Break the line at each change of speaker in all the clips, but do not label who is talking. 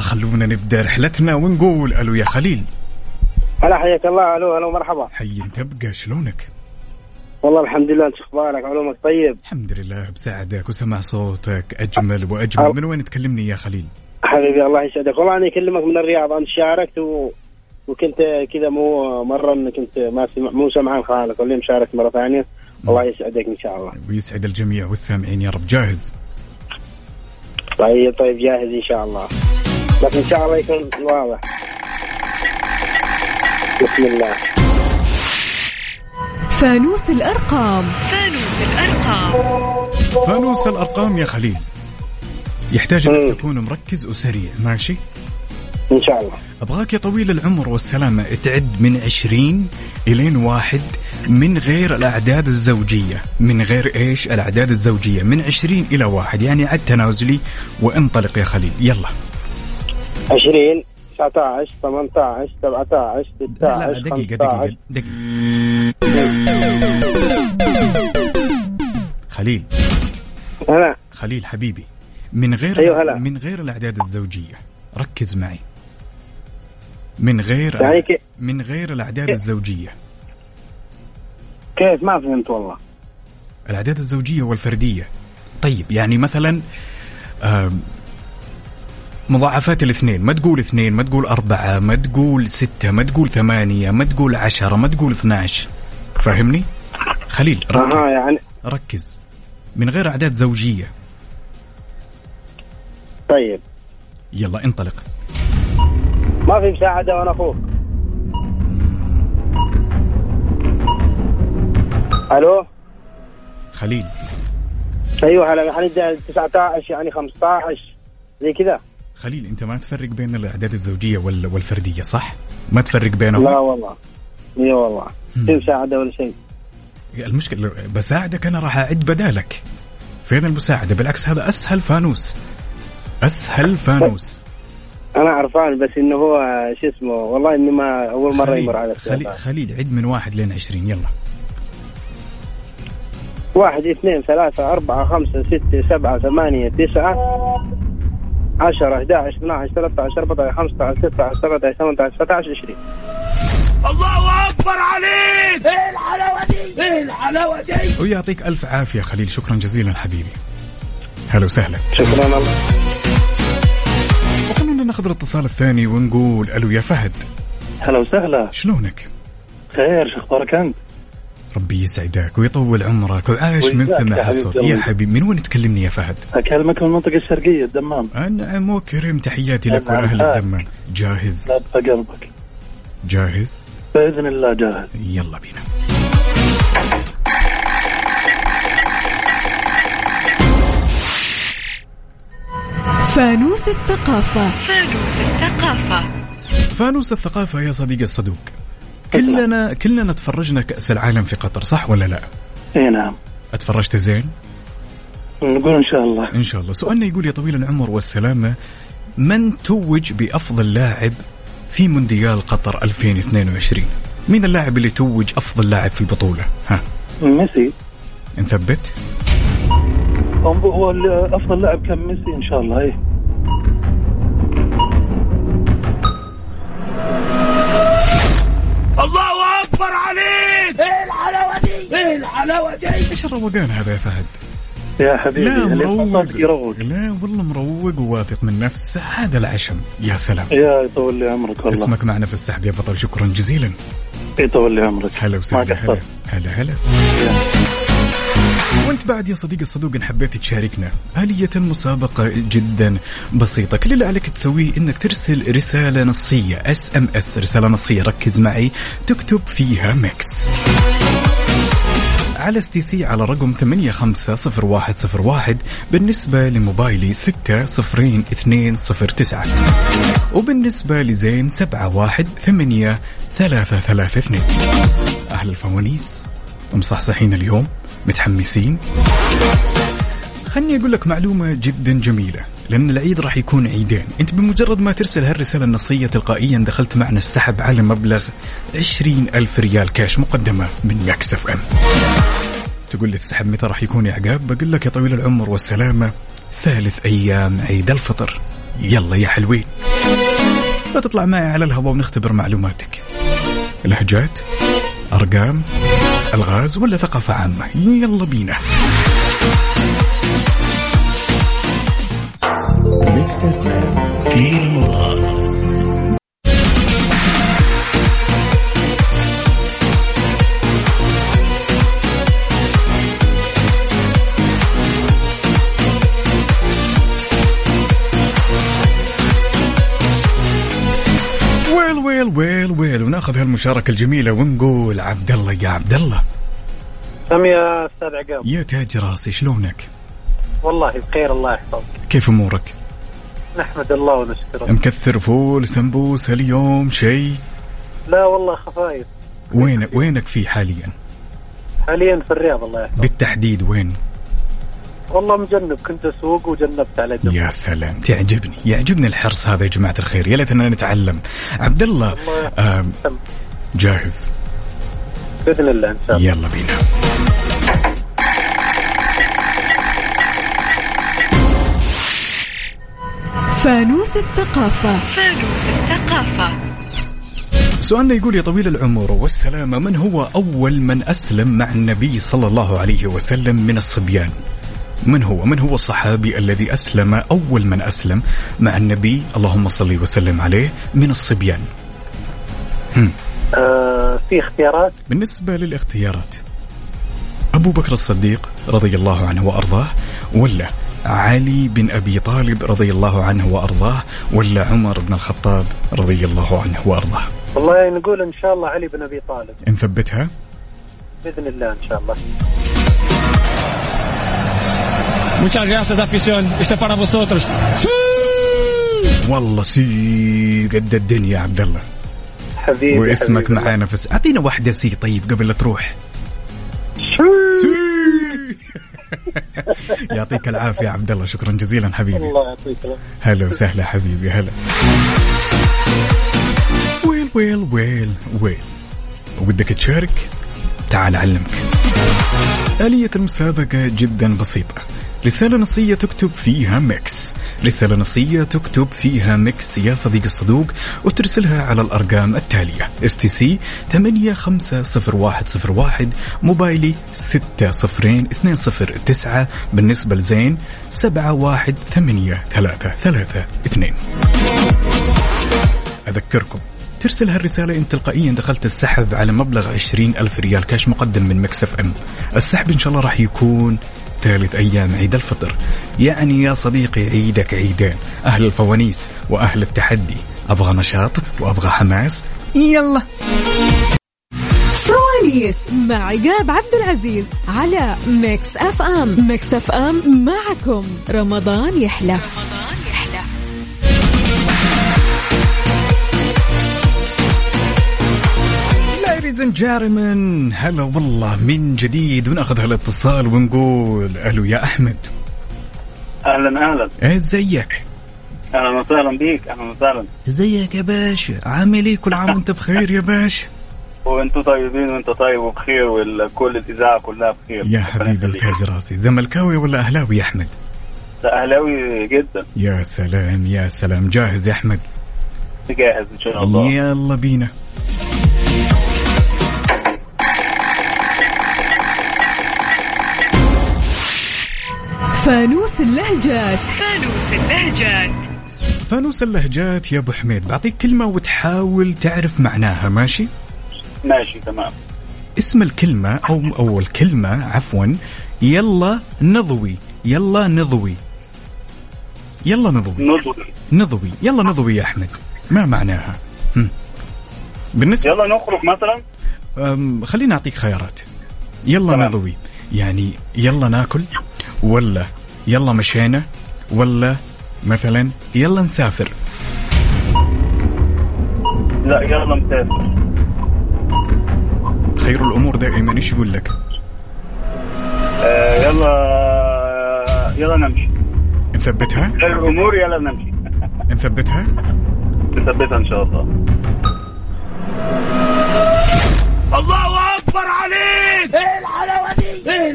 خلونا نبدا رحلتنا ونقول الو يا خليل
هلا حياك الله الو الو مرحبا
حي تبقى شلونك؟
والله الحمد لله انت اخبارك علومك طيب
الحمد لله بسعدك وسمع صوتك اجمل واجمل من وين تكلمني يا خليل؟
حبيبي الله يسعدك والله انا اكلمك من الرياض انت شاركت و... وكنت كذا مو مره انك كنت ما سمع... مو سمعان خالص واليوم شاركت مره ثانيه الله يسعدك ان شاء الله
ويسعد الجميع والسامعين يا رب جاهز
طيب طيب جاهز ان شاء الله بس ان شاء الله يكون واضح بسم الله
فانوس الأرقام
فانوس الارقام يا خليل يحتاج انك
مم.
تكون مركز وسريع ماشي؟
ان شاء الله
ابغاك يا طويل العمر والسلامة تعد من 20 الين واحد من غير الاعداد الزوجية، من غير ايش؟ الاعداد الزوجية، من 20 الى واحد، يعني عد تنازلي وانطلق يا خليل، يلا.
20 19 18 17
لا
16
لا دقيقة دقيقة
15
دقيقة. خليل،
هلا
خليل حبيبي، من غير
أيوه هلا.
من غير الاعداد الزوجية، ركز معي. من غير
يعني كي-
من غير الاعداد الزوجية.
كيف ما فهمت والله
الاعداد الزوجيه والفرديه طيب يعني مثلا آم، مضاعفات الاثنين ما تقول اثنين ما تقول أربعة ما تقول ستة ما تقول ثمانية ما تقول عشرة ما تقول 12 فاهمني خليل
اها
ركز
يعني
ركز من غير أعداد زوجية
طيب
يلا انطلق
ما في مساعده وانا اخوك الو
خليل
ايوه هلا حنبدا 19 يعني 15 زي كذا
خليل أنت ما تفرق بين الأعداد الزوجية وال- والفردية صح؟ ما تفرق بينهم؟
لا والله اي والله في مساعده ولا شيء
المشكلة لو بساعدك أنا راح أعد بدالك فين المساعدة بالعكس هذا أسهل فانوس أسهل فانوس
انا عرفان بس انه هو شو اسمه والله اني ما اول مره يمر على
خليل,
خلي...
خليل عد من واحد لين عشرين يلا
واحد اثنين ثلاثة أربعة خمسة ستة سبعة ثمانية تسعة عشرة 11 12 13 14 15 16 17 18 19 20
إيه
ويعطيك ألف عافية خليل شكرا جزيلا حبيبي هلا وسهلا
شكرا الله
وخلونا ناخذ الاتصال الثاني ونقول ألو يا فهد
هلا وسهلا
شلونك
خير شو اخبارك انت؟
ربي يسعدك ويطول عمرك وعاش من
ويسعدك
سمع
يا حبيب
الصوت
قلبي.
يا حبيبي من وين تكلمني يا فهد
اكلمك من المنطقه الشرقيه الدمام
أنعم وكرم تحياتي لك
أنعم.
والأهل الدمام جاهز
لبى قلبك
جاهز
باذن الله جاهز
يلا بينا
فانوس الثقافة
فانوس الثقافة يا صديقي الصدوق كلنا كلنا تفرجنا كأس العالم في قطر صح ولا لا؟
اي نعم
اتفرجت زين؟
نقول ان شاء الله
ان شاء الله، سؤالنا يقول يا طويل العمر والسلامة من توج بأفضل لاعب في مونديال قطر 2022 مين اللاعب اللي توج أفضل لاعب في البطولة؟ ها
ميسي
نثبت؟
انظر هو ال- افضل لاعب كان ميسي ان شاء الله اي
إيه
ايش الروقان هذا يا فهد؟
يا حبيبي
لا
إيه، اللي
مروق
يحطك يروق
لا والله مروق وواثق من نفسه هذا العشم يا سلام
يا يطول لي عمرك والله
اسمك معنا في السحب يا بطل شكرا جزيلا
يطول لي عمرك
هلا
ما
وسهلا هلا
قصرت
هلا هلا وانت بعد يا صديقي الصدوق ان حبيت تشاركنا آلية المسابقة جدا بسيطة كل اللي عليك تسويه انك ترسل رسالة نصية اس ام اس رسالة نصية ركز معي تكتب فيها ميكس على اس تي سي على رقم 850101 بالنسبة لموبايلي 602209 وبالنسبة لزين 718332 أهل الفوانيس مصحصحين اليوم متحمسين خلني أقول لك معلومة جدا جميلة لأن العيد راح يكون عيدين أنت بمجرد ما ترسل هالرسالة النصية تلقائيا دخلت معنا السحب على مبلغ 20 ألف ريال كاش مقدمة من مكس اف ام تقول لي السحب متى راح يكون يا عقاب بقول لك يا طويل العمر والسلامة ثالث أيام عيد الفطر يلا يا حلوين لا تطلع معي على الهواء ونختبر معلوماتك لهجات أرقام ألغاز ولا ثقافة عامة يلا بينا
ميكس اف ام في رمضان
ويل ويل ويل ويل وناخذ هالمشاركة الجميلة ونقول عبد الله يا عبد الله
سم يا استاذ عقاب
يا تاج راسي شلونك
والله بخير الله يحفظك
كيف أمورك
نحمد الله ونشكره
مكثر فول سمبوس اليوم شيء
لا والله خفايف
وين وينك فيه حاليا
حاليا في الرياض الله يحفظك
بالتحديد وين
والله مجنب كنت اسوق وجنبت على جنب
يا سلام تعجبني يعجبني الحرص هذا يا جماعة الخير يا ليتنا نتعلم عبد الله آم،
سم.
جاهز
باذن الله ان شاء الله
يلا بينا
فانوس الثقافة
سؤالنا يقول يا طويل العمر والسلامة من هو أول من أسلم مع النبي صلى الله عليه وسلم من الصبيان من هو من هو الصحابي الذي أسلم أول من أسلم مع النبي اللهم صل وسلم عليه من الصبيان
آه في اختيارات
بالنسبة للاختيارات أبو بكر الصديق رضي الله عنه وأرضاه ولا علي بن أبي طالب رضي الله عنه وأرضاه ولا عمر بن الخطاب رضي الله عنه وأرضاه
والله نقول ان شاء الله علي بن ابي طالب
نثبتها
باذن الله ان شاء الله
Muchas gracias, afición. Este es para vosotros.
والله سي قد الدنيا يا عبد الله
حبيبي
واسمك
حبيبي.
معانا في الس- اعطينا واحدة سي طيب قبل لا تروح سي يعطيك العافية يا عبد الله شكرا جزيلا حبيبي
الله يعطيك العافية.
هلا وسهلا حبيبي هلا ويل ويل ويل ويل ودك تشارك تعال أعلمك آلية المسابقة جدا بسيطة رسالة نصية تكتب فيها ميكس رسالة نصية تكتب فيها ميكس يا صديقي الصدوق وترسلها على الأرقام التالية اس تي سي 850101 موبايلي 60209 بالنسبة لزين 718332 أذكركم ترسل هالرسالة إن تلقائيا دخلت السحب على مبلغ 20 ألف ريال كاش مقدم من مكسف أم السحب إن شاء الله راح يكون ثالث أيام عيد الفطر يعني يا صديقي عيدك عيدين أهل الفوانيس وأهل التحدي أبغى نشاط وأبغى حماس
يلا فوانيس مع عقاب عبد العزيز على ميكس اف ام ميكس اف ام معكم رمضان يحلى
Ladies and gentlemen هلا والله من جديد وناخذ هالاتصال ونقول ألو يا أحمد
اهلا اهلا
ازيك
اهلا وسهلا بيك اهلا وسهلا
ازيك يا باشا عامل ايه كل عام وانت بخير يا باشا
وانتم طيبين وانت طيب وبخير وكل الاذاعه كلها بخير
يا
ربنا
حبيب
يخليك.
التاج راسي زملكاوي ولا أهلاوي يا أحمد
لا، اهلاوي جدا
يا سلام يا سلام جاهز يا احمد
جاهز ان شاء الله
يلا بينا
فانوس اللهجات
فانوس اللهجات يا ابو حميد بعطيك كلمه وتحاول تعرف معناها ماشي
ماشي تمام
اسم الكلمه او او الكلمه عفوا يلا نضوي يلا نضوي يلا نضوي
نضوي
نضوي يلا نضوي يا احمد ما معناها هم. بالنسبه
يلا نخرج مثلا
أم، خليني اعطيك خيارات يلا نضوي يعني يلا ناكل ولا يلا مشينا ولا مثلا يلا نسافر
لا يلا مسافر
خير الامور دائما ايش يقول لك؟
آه يلا آه، يلا نمشي
نثبتها؟
الامور يلا نمشي
نثبتها؟
نثبتها ان شاء الله
إيه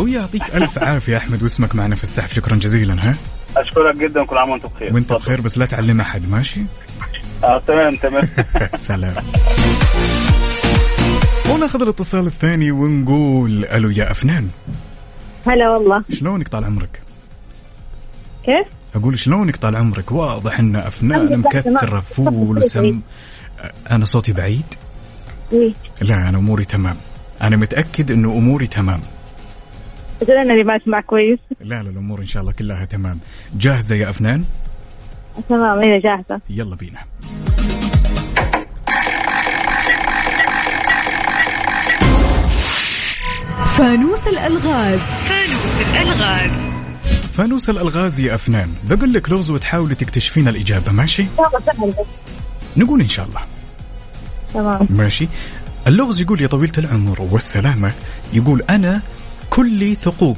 ويعطيك الف عافيه احمد واسمك معنا في السحب شكرا جزيلا ها
اشكرك جدا كل عام وانت بخير
وانت
تفضل.
بخير بس لا تعلم احد ماشي؟
آه تمام تمام
سلام وناخذ الاتصال الثاني ونقول الو يا افنان
هلا والله
شلونك طال عمرك؟
كيف؟
اقول شلونك طال عمرك؟ واضح ان افنان
الحمد لله،
مكثره
تمام.
فول وسم انا صوتي بعيد؟
إيه.
لا انا اموري تمام انا متاكد انه اموري تمام
قلت انا اللي ما اسمع كويس
لا لا الامور ان شاء الله كلها تمام جاهزه يا افنان؟
تمام انا جاهزه
يلا بينا
فانوس الألغاز
فانوس الالغاز يا افنان بقول لك لغز وتحاولي تكتشفين الاجابه ماشي؟
يلا سهل بس
نقول ان شاء الله
تمام
ماشي اللغز يقول يا طويلة العمر والسلامة يقول أنا كلي ثقوب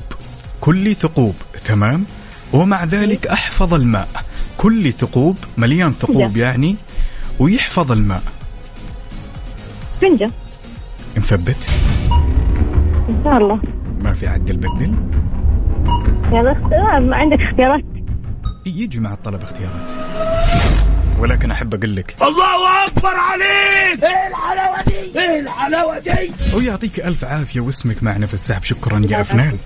كلي ثقوب تمام ومع ذلك أحفظ الماء كلي ثقوب مليان ثقوب يعني ويحفظ الماء
فنجة
مثبت
ان شاء الله
ما في عدل بدل
يلا اختيار عندك اختيارات
يجي مع الطلب اختيارات ولكن احب اقول لك الله
إيه
اكبر عليك ايه الحلاوه دي ايه الحلاوه دي ويعطيك الف عافيه واسمك معنا في السحب شكرا يا افنان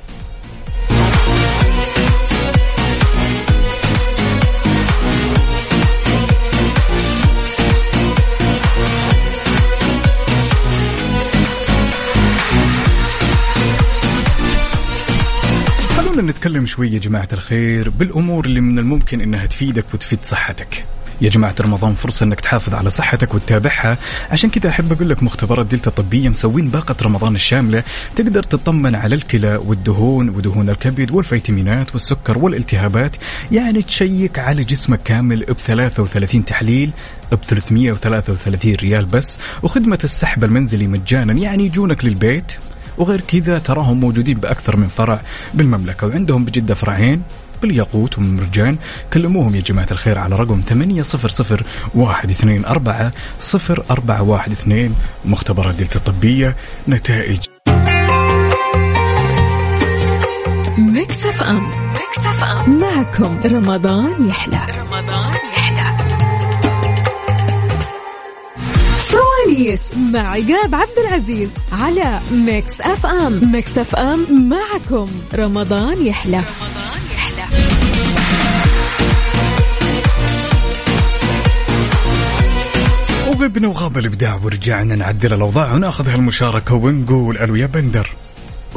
خلونا نتكلم شوي يا جماعة الخير بالأمور اللي من الممكن أنها تفيدك وتفيد صحتك يا جماعة رمضان فرصة أنك تحافظ على صحتك وتتابعها عشان كذا أحب أقول لك مختبرات دلتا الطبية مسوين باقة رمضان الشاملة تقدر تطمن على الكلى والدهون ودهون الكبد والفيتامينات والسكر والالتهابات يعني تشيك على جسمك كامل ب 33 تحليل ب 333 ريال بس وخدمة السحب المنزلي مجانا يعني يجونك للبيت وغير كذا تراهم موجودين بأكثر من فرع بالمملكة وعندهم بجدة فرعين بالياقوت ومرجان كلموهم يا جماعة الخير على رقم 800 0412 مختبرات دلتا الطبية نتائج
ميكس اف ام ميكس اف ام معكم رمضان يحلى رمضان يحلى فوانيس مع عقاب عبد العزيز على ميكس اف ام ميكس اف ام معكم رمضان يحلى رمضان يحلى
وغبنا وغاب الإبداع ورجعنا نعدل الأوضاع وناخذ هالمشاركة ونقول ألو يا بندر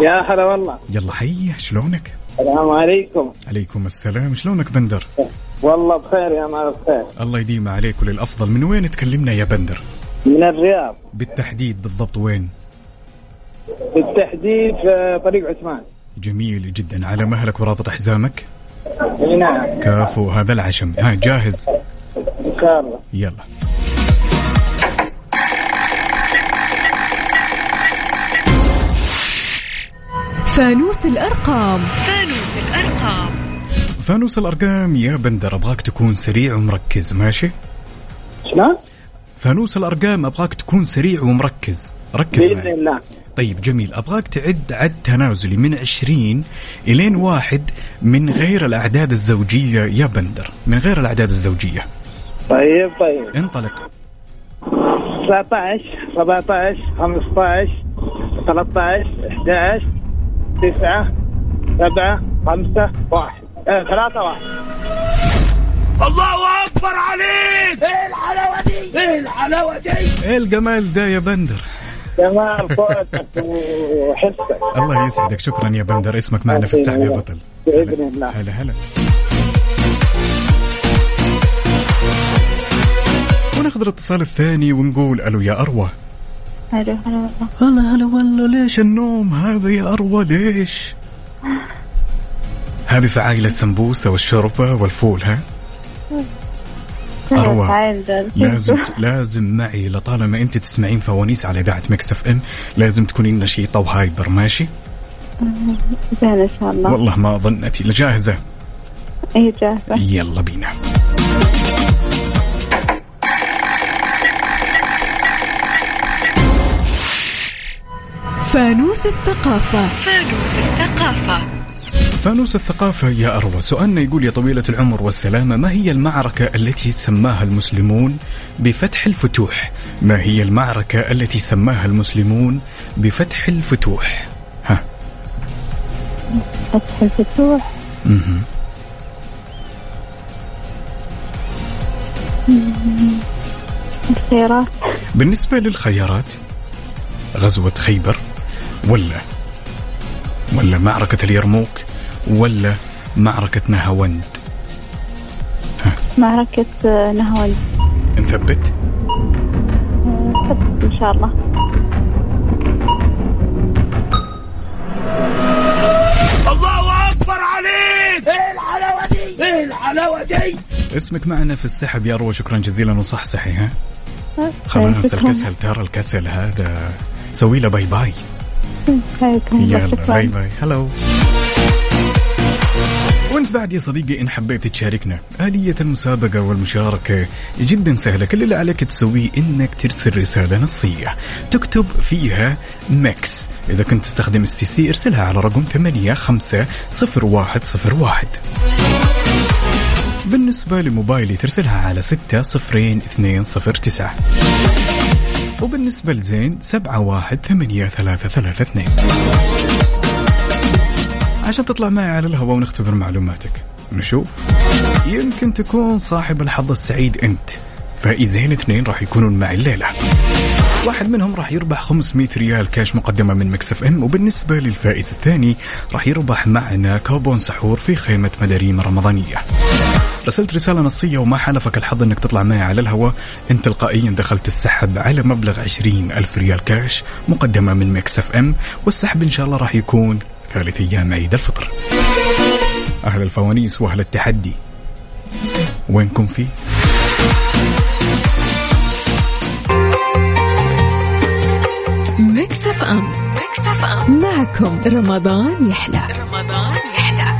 يا هلا والله
يلا حيه شلونك؟
السلام عليكم
عليكم السلام شلونك بندر؟
والله بخير يا مال بخير
الله يديم عليك وللأفضل من وين تكلمنا يا بندر؟
من الرياض
بالتحديد بالضبط وين؟
بالتحديد في طريق عثمان
جميل جدا على مهلك ورابط حزامك
اي نعم
كافو هذا العشم ها جاهز
ان شاء الله
يلا
فانوس الارقام
فانوس الارقام يا بندر ابغاك تكون سريع ومركز ماشي
شلون؟
فانوس الارقام ابغاك تكون سريع ومركز ركز
باذن
معي
الله
طيب جميل ابغاك تعد عد تنازلي من 20 الين واحد من غير الاعداد الزوجيه يا بندر من غير الاعداد الزوجيه
طيب طيب
انطلق
19 17 15 13 11 9 7 5 1 3 1
إيه
ايه الجمال ده يا بندر
جمال صوتك وحسك
الله يسعدك شكرا يا بندر اسمك معنا في السحب يا بطل
باذن الله
هلا هلا وناخذ الاتصال الثاني ونقول الو يا اروى
حلو هلا والله
هلا هلا والله ليش النوم هذا يا اروى ليش؟ هذه فعايلة سمبوسة والشربة والفول ها؟ أروى.
تعال دول.
لازم لازم معي لطالما انت تسمعين فوانيس على اذاعة مكس اف ام لازم تكونين نشيطة وهايبر ماشي؟
زين ان شاء الله إيه،
والله ما ظنتي لا جاهزة
اي جاهزه
يلا بينا
فانوس الثقافة
فانوس الثقافة يا أروى سؤالنا يقول يا طويلة العمر والسلامة ما هي المعركة التي سماها المسلمون بفتح الفتوح ما هي المعركة التي سماها المسلمون بفتح الفتوح ها
فتح الفتوح
مهم.
الخيرات
بالنسبة للخيارات غزوة خيبر ولا ولا معركة اليرموك ولا معركة نهاوند
معركة آه، نهاوند
نثبت
آه، ثبت إن شاء الله
إيه
اسمك معنا في السحب يا روى شكرا جزيلا وصحصحي ها
آه،
خلاص
شكراً.
الكسل ترى الكسل هذا سوي له باي باي
شكراً.
يلا
شكراً.
باي باي هلو وانت بعد يا صديقي ان حبيت تشاركنا آلية المسابقة والمشاركة جدا سهلة كل اللي عليك تسويه انك ترسل رسالة نصية تكتب فيها ميكس اذا كنت تستخدم اس تي سي ارسلها على رقم 850101 بالنسبة لموبايلي ترسلها على 60209 وبالنسبة لزين 718332 عشان تطلع معي على الهواء ونختبر معلوماتك نشوف يمكن تكون صاحب الحظ السعيد انت فائزين اثنين راح يكونون معي الليله واحد منهم راح يربح 500 ريال كاش مقدمة من مكسف ام وبالنسبة للفائز الثاني راح يربح معنا كوبون سحور في خيمة مداريم رمضانية رسلت رسالة نصية وما حالفك الحظ انك تطلع معي على الهواء انت تلقائيا دخلت السحب على مبلغ 20 ألف ريال كاش مقدمة من مكسف ام والسحب ان شاء الله راح يكون ثالث ايام عيد الفطر اهل الفوانيس واهل التحدي وينكم فيه؟
ميكس اف ام ميكس اف ام معكم رمضان يحلى رمضان يحلى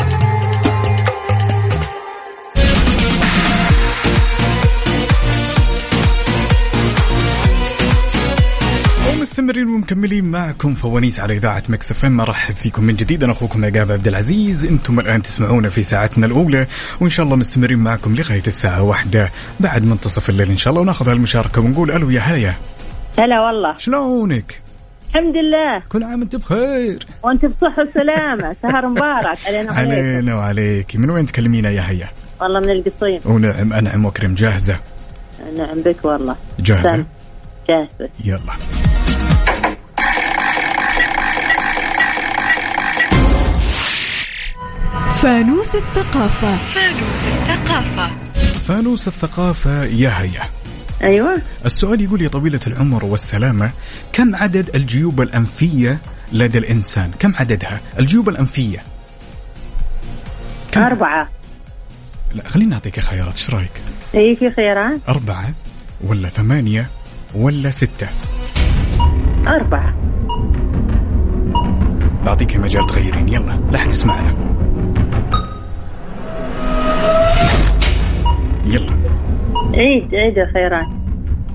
ومستمرين ومكملين معكم فوانيس على اذاعه مكس اف ام ارحب فيكم من جديد انا اخوكم عقاب عبد العزيز انتم الان تسمعونا في ساعتنا الاولى وان شاء الله مستمرين معكم لغايه الساعه واحدة بعد منتصف الليل ان شاء الله وناخذ هالمشاركه ونقول الو يا هيا
هلا والله
شلونك؟
الحمد لله
كل عام انت بخير
وانت بصحة وسلامة سهر مبارك علينا وعليكم
علينا وعليك من وين تكلمينا يا هيا؟
والله من القصيم
ونعم انعم واكرم جاهزه
نعم بك والله
جاهزه
سلام. جاهزة
يلا
فانوس الثقافة
فانوس الثقافه يا هيا
ايوه
السؤال يقول يا طويلة العمر والسلامة كم عدد الجيوب الأنفية لدى الإنسان كم عددها الجيوب الأنفية كم؟
أربعة
لا خلينا نعطيك خيارات ايش رايك
اي في خيارات
أربعة ولا ثمانية ولا ستة
أربعة
بعطيك مجال تغيرين يلا لا حد يسمعنا يلا
عيد عيد الخيارات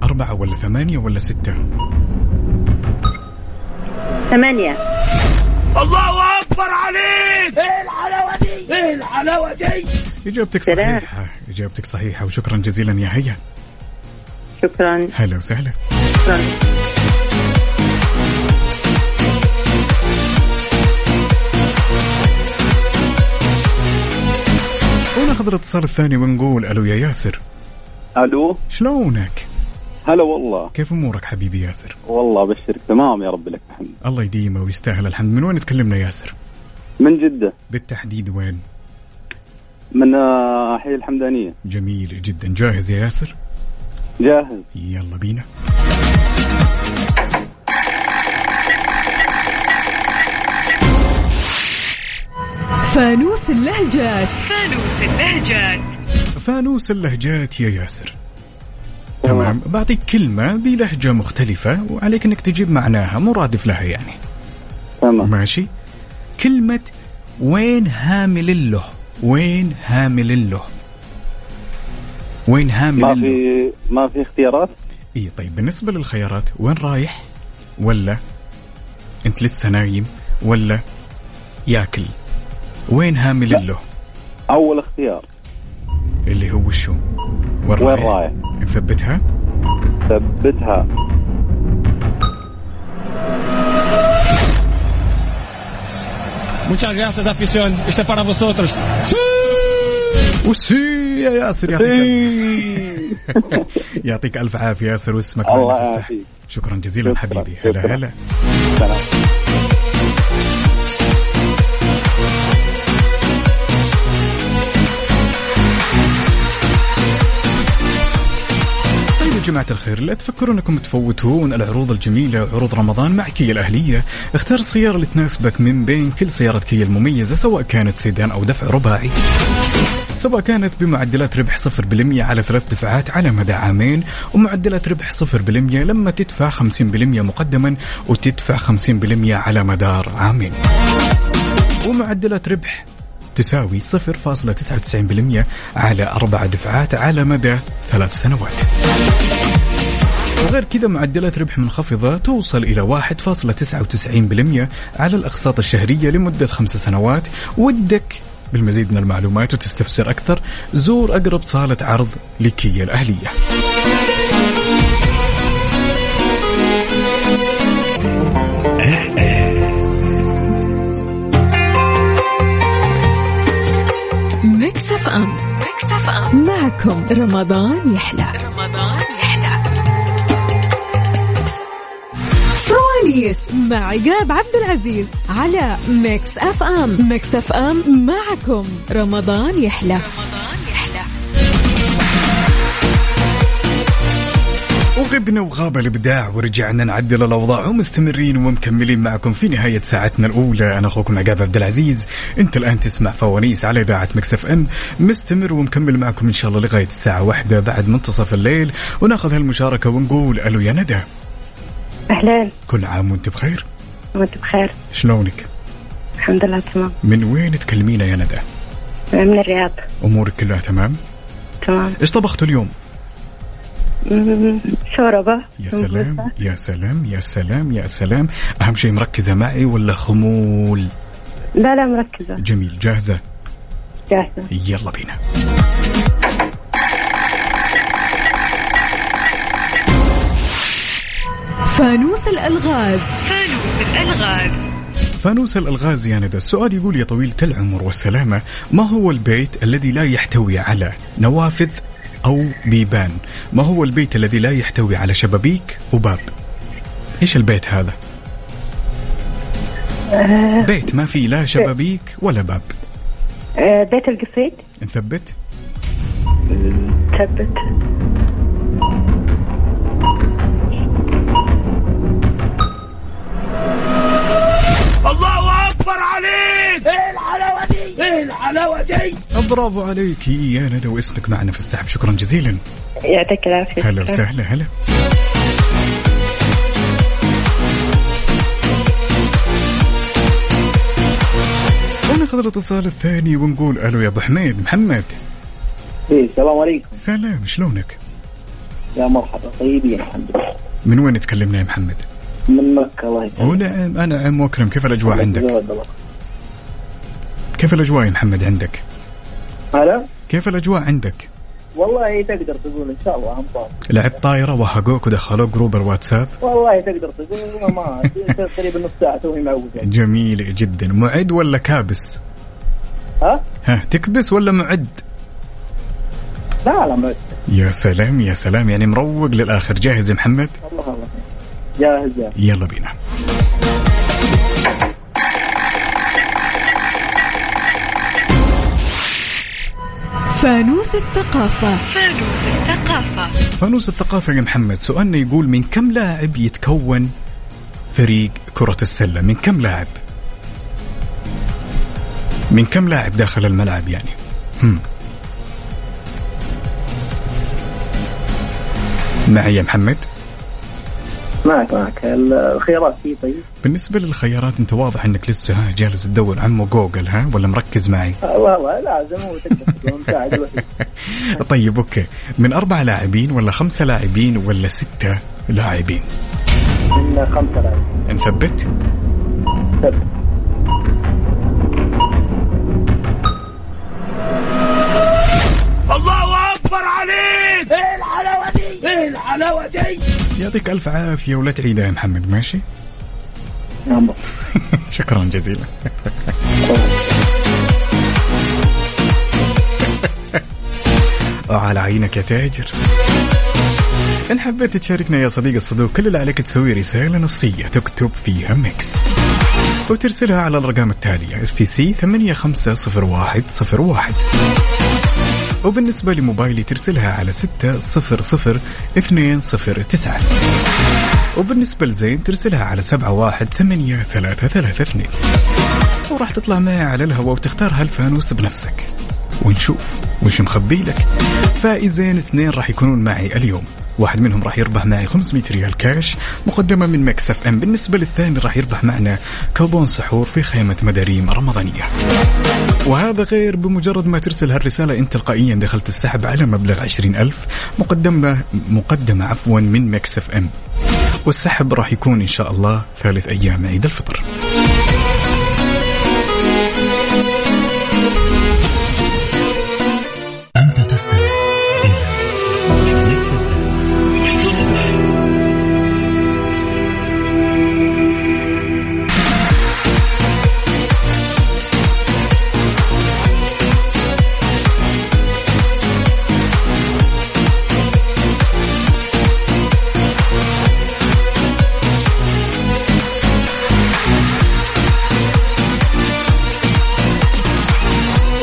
أربعة ولا ثمانية ولا ستة
ثمانية
إيه
إجابتك
سلام.
صحيحة إجابتك صحيحة وشكرا جزيلا يا هيا
شكرا
هلا وسهلا
شكرا
وناخذ الاتصال الثاني ونقول ألو يا ياسر
الو
شلونك
هلا والله
كيف امورك حبيبي ياسر؟
والله ابشرك تمام يا رب لك الحمد
الله يديمه ويستاهل الحمد من وين تكلمنا ياسر؟
من جده
بالتحديد وين؟
من آه، حي الحمدانيه
جميل جدا جاهز يا ياسر؟
جاهز
يلا بينا
فانوس اللهجات
فانوس اللهجات يا ياسر تمام بعطيك كلمة بلهجة مختلفة وعليك انك تجيب معناها مرادف لها يعني
تمام
ماشي كلمة وين هامل له وين هامل له وين هامل
ما
له
في ما في اختيارات
اي طيب بالنسبة للخيارات وين رايح ولا انت لسه نايم ولا ياكل وين هامي لله
اول اختيار
اللي هو شو وين
وين رايح؟
نثبتها
ثبتها
Muchas gracias, afición. Este es para vosotros.
وسي يا ياسر يعطيك ألف- يعطيك الف عافيه ياسر واسمك
إيه. الله
معنا في السحب
يعافيك.
شكرا جزيلا
شكراً،
حبيبي
شكراً.
هلا هلا
سلام.
طيب يا جماعة الخير لا تفكروا انكم تفوتون العروض الجميلة عروض رمضان مع كيا الاهلية، اختار السيارة اللي تناسبك من بين كل سيارات كيا المميزة سواء كانت سيدان او دفع رباعي. سواء كانت بمعدلات ربح 0% على ثلاث دفعات على مدى عامين ومعدلات ربح 0% لما تدفع 50% مقدما وتدفع 50% على مدار عامين. ومعدلات ربح تساوي 0.99% على أربع دفعات على مدى ثلاث سنوات وغير كذا معدلات ربح منخفضة توصل إلى 1.99% على الأقساط الشهرية لمدة خمس سنوات ودك بالمزيد من المعلومات وتستفسر أكثر زور أقرب صالة عرض لكيا الأهلية
ميكس اف ام ميكس اف ام معكم رمضان يحلى رمضان يحلى فرونيس مع عقاب عبد العزيز على ميكس اف ام ميكس اف ام معكم رمضان يحلى
وغبنا وغاب الابداع ورجعنا نعدل الاوضاع ومستمرين ومكملين معكم في نهايه ساعتنا الاولى انا اخوكم عقاب عبد العزيز انت الان تسمع فوانيس على اذاعه مكسف ام مستمر ومكمل معكم ان شاء الله لغايه الساعه واحدة بعد منتصف الليل وناخذ هالمشاركه ونقول الو يا ندى
اهلين
كل عام وانت بخير
وانت بخير
شلونك
الحمد لله تمام
من وين تكلمينا يا ندى
من الرياض
امورك كلها تمام
تمام
ايش طبختوا اليوم
مم، شوربه
يا سلام يا سلام يا سلام يا سلام اهم شيء مركزه معي ولا خمول
لا لا مركزه
جميل جاهزه
جاهزه
يلا بينا
فانوس الالغاز
فانوس الالغاز يا ندى السؤال يقول يا طويلة العمر والسلامة ما هو البيت الذي لا يحتوي على نوافذ أو بيبان ما هو البيت الذي لا يحتوي على شبابيك وباب إيش البيت هذا بيت ما فيه لا شبابيك ولا باب
آه، بيت القصيد
نثبت
ثبت
برافو عليك يا ندى واسمك معنا في السحب شكرا جزيلا
يعطيك العافيه
هلا وسهلا هلا وناخذ الاتصال الثاني ونقول الو يا ابو حميد محمد
إيه، السلام عليكم
سلام شلونك؟
يا مرحبا
طيب،
طيبين الحمد لله
من وين تكلمنا يا محمد؟
من مكه الله يسلمك
ونعم انا عم واكرم كيف الاجواء عندك؟
زود الله.
كيف الاجواء يا محمد عندك؟
هلا
كيف الاجواء عندك؟
والله تقدر تقول ان شاء الله امطار
لعبت طايره وهقوك ودخلوك جروب الواتساب
والله تقدر تقول ما تقريبا نص ساعه توي معود
جميل جدا معد ولا كابس؟
ها؟
ها تكبس ولا معد؟
لا لا ما
يا سلام يا سلام يعني مروق للاخر جاهز يا محمد؟
الله الله جاهز جاهز
يلا بينا
فانوس الثقافة
فانوس الثقافة يا محمد سؤالنا يقول من كم لاعب يتكون فريق كرة السلة من كم لاعب من كم لاعب داخل الملعب يعني هم. معي يا محمد
معك معك الخيارات في طيب
بالنسبة للخيارات انت واضح انك لسه ها جالس تدور عمو جوجل ها ولا مركز معي
آه، والله لازم هو تقدر تقول مساعد الوحيد.
طيب اوكي من اربع لاعبين ولا خمسة لاعبين ولا ستة لاعبين
من خمسة لاعبين
نثبت
ثبت
الحلاوه دي
يعطيك الف عافيه ولا تعيدها يا محمد ماشي شكرا جزيلا على عينك يا تاجر إن حبيت تشاركنا يا صديق الصدوق كل اللي عليك تسوي رسالة نصية تكتب فيها ميكس وترسلها على الرقم التالي اس تي سي 850101 وبالنسبة لموبايلي ترسلها على 6002009 وبالنسبة لزين ترسلها على 718332 وراح تطلع معي على الهواء وتختار هالفانوس بنفسك ونشوف وش مخبي لك فائزين اثنين راح يكونون معي اليوم واحد منهم راح يربح معي 500 ريال كاش مقدمة من مكسف ام بالنسبة للثاني راح يربح معنا كوبون سحور في خيمة مداريم رمضانية وهذا غير بمجرد ما ترسل هالرسالة انت تلقائيا دخلت السحب على مبلغ 20000 مقدمة مقدمة عفوا من مكسف ام والسحب راح يكون ان شاء الله ثالث ايام عيد الفطر
أنت تستمع إلى ميكس اف ام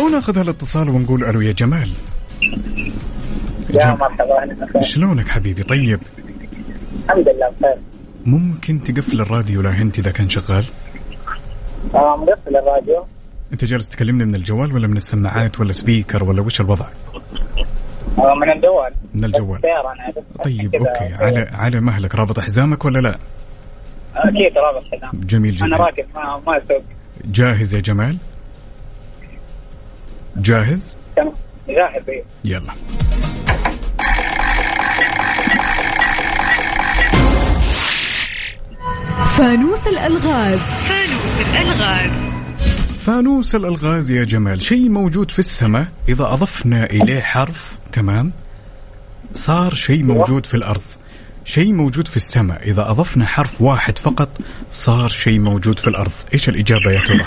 وناخذ هالاتصال ونقول الو يا جمال
يا مرحبا اهلا وسهلا
شلونك حبيبي طيب
الحمد لله بخير
ممكن تقفل الراديو لا هنت اذا كان شغال
آه، مقفل الراديو
انت جالس تكلمني من الجوال ولا من السماعات ولا سبيكر ولا وش الوضع
آه، من الجوال
من الجوال.
بس سيارة أنا بس
طيب
كذا. إيه،
اوكي على على مهلك رابط حزامك ولا لا
أكيد رابط كلام
جميل
أنا
جدا
راكب ما ما أسوق
جاهز يا جمال جاهز
تمام جاهز إيه.
يلا
فانوس الألغاز فانوس الألغاز
فانوس الالغاز يا جمال شيء موجود في السماء اذا اضفنا اليه حرف تمام صار شيء
أيوة.
موجود في الارض شيء موجود في السماء اذا اضفنا حرف واحد فقط صار شيء موجود في الارض ايش الاجابه يا ترى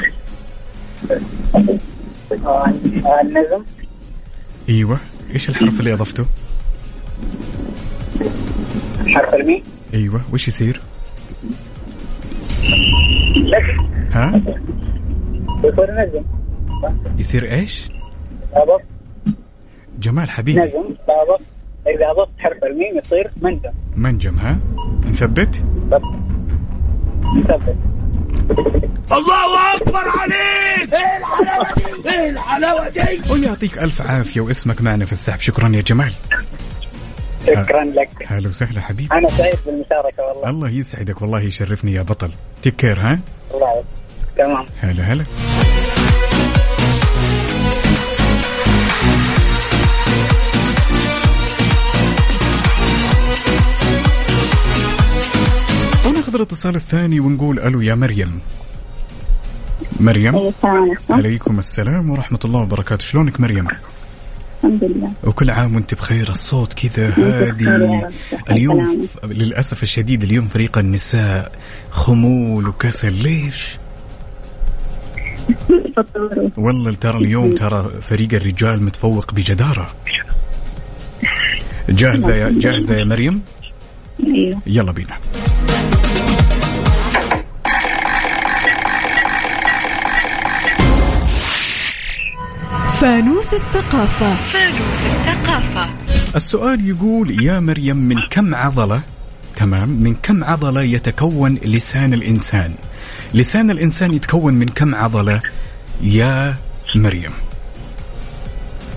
آه، آه، النجم
ايوه ايش الحرف اللي اضفته
حرف المي
ايوه وش يصير
لك
ها
يكون نجم
يصير ايش
أضف
جمال حبيبي
نجم أضف إذا أضفت حرف الميم يصير منجم
منجم ها نثبت
بس مثبت
الله اكبر عليك ايه الحلاوه دي ايه الحلاوه دي
ويعطيك الف عافيه واسمك معنا في السحب شكرا يا جمال
شكرا لك
هلا وسهلا حبيبي
أنا سعيد بالمشاركة والله
الله يسعدك والله يشرفني يا بطل تيك كير ها
الله يعزك. تمام
هلا هلا وناخذ الاتصال الثاني ونقول الو يا مريم مريم
أي السلام إيه، عليكم
عليكم السلام ورحمة الله وبركاته شلونك مريم
الحمد لله
وكل عام وانت بخير الصوت كذا
بخير يا
هادي
رب. صحة
اليوم
وسلامة.
ف- للأسف الشديد اليوم فريق النساء خمول وكسل ليش
تفضلوا.
والله ترى اليوم ترى فريق الرجال متفوق بجدارة جاهزة يا جاهزة يا مريم
ايوه
يلا بينا
فانوس الثقافة
السؤال يقول يا مريم من كم عضلة تمام من كم عضلة يتكون لسان الإنسان لسان الإنسان يتكون من كم عضلة يا مريم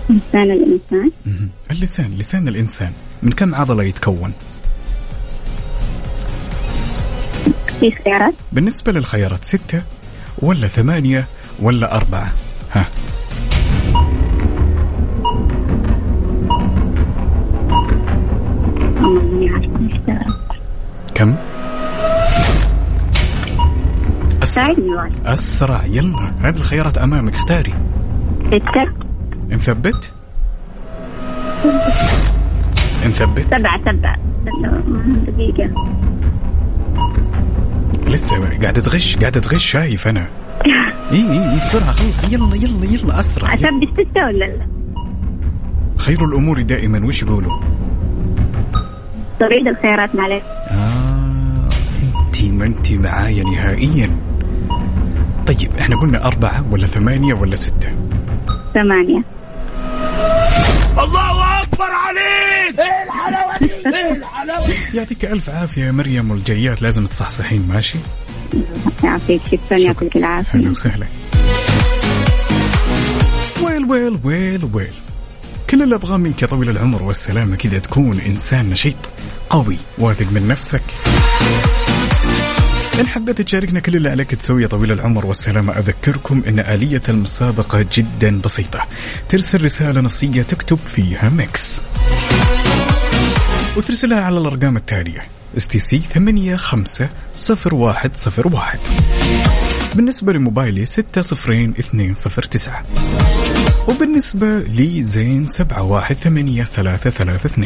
لسان الإنسان
مهم. اللسان لسان الإنسان من كم عضلة يتكون
في خيارات
بالنسبة للخيارات ستة ولا ثمانية ولا أربعة ها
والله ماني عارفة الاختيارات.
كم أسرع
ساعدني والله
أسرع يلا هذه الخيارات أمامك اختاري
ستة
نثبت نثبت
سبعة سبعة دقيقة
لسه قاعدة تغش قاعدة تغش شايف أنا إي إي إي بسرعة خلص يلا يلا يلا أسرع يلا.
أثبت ستة ولا لا؟
خير الأمور دائما وش يقولوا؟
صعيد الخيارات معلش
آه أنت ما أنت معايا نهائيا طيب احنا قلنا أربعة ولا ثمانية ولا ستة؟
ثمانية
الله اكبر عليك ايه الحلاوه دي ايه الحلاوه دي
يعطيك ألف عافية يا مريم والجيات لازم تصحصحين ماشي؟
يعطيك شكرا يعطيك العافية
هلا وسهلا ويل ويل ويل ويل كل اللي أبغاه منك يا طويل العمر والسلامة كذا تكون إنسان نشيط قوي واثق من نفسك إن حبيت تشاركنا كل اللي عليك تسويه طويل العمر والسلامة أذكركم أن آلية المسابقة جدا بسيطة ترسل رسالة نصية تكتب فيها ميكس وترسلها على الأرقام التالية اس تي سي 850101 بالنسبة لموبايلي 602209 وبالنسبة لي زين 718332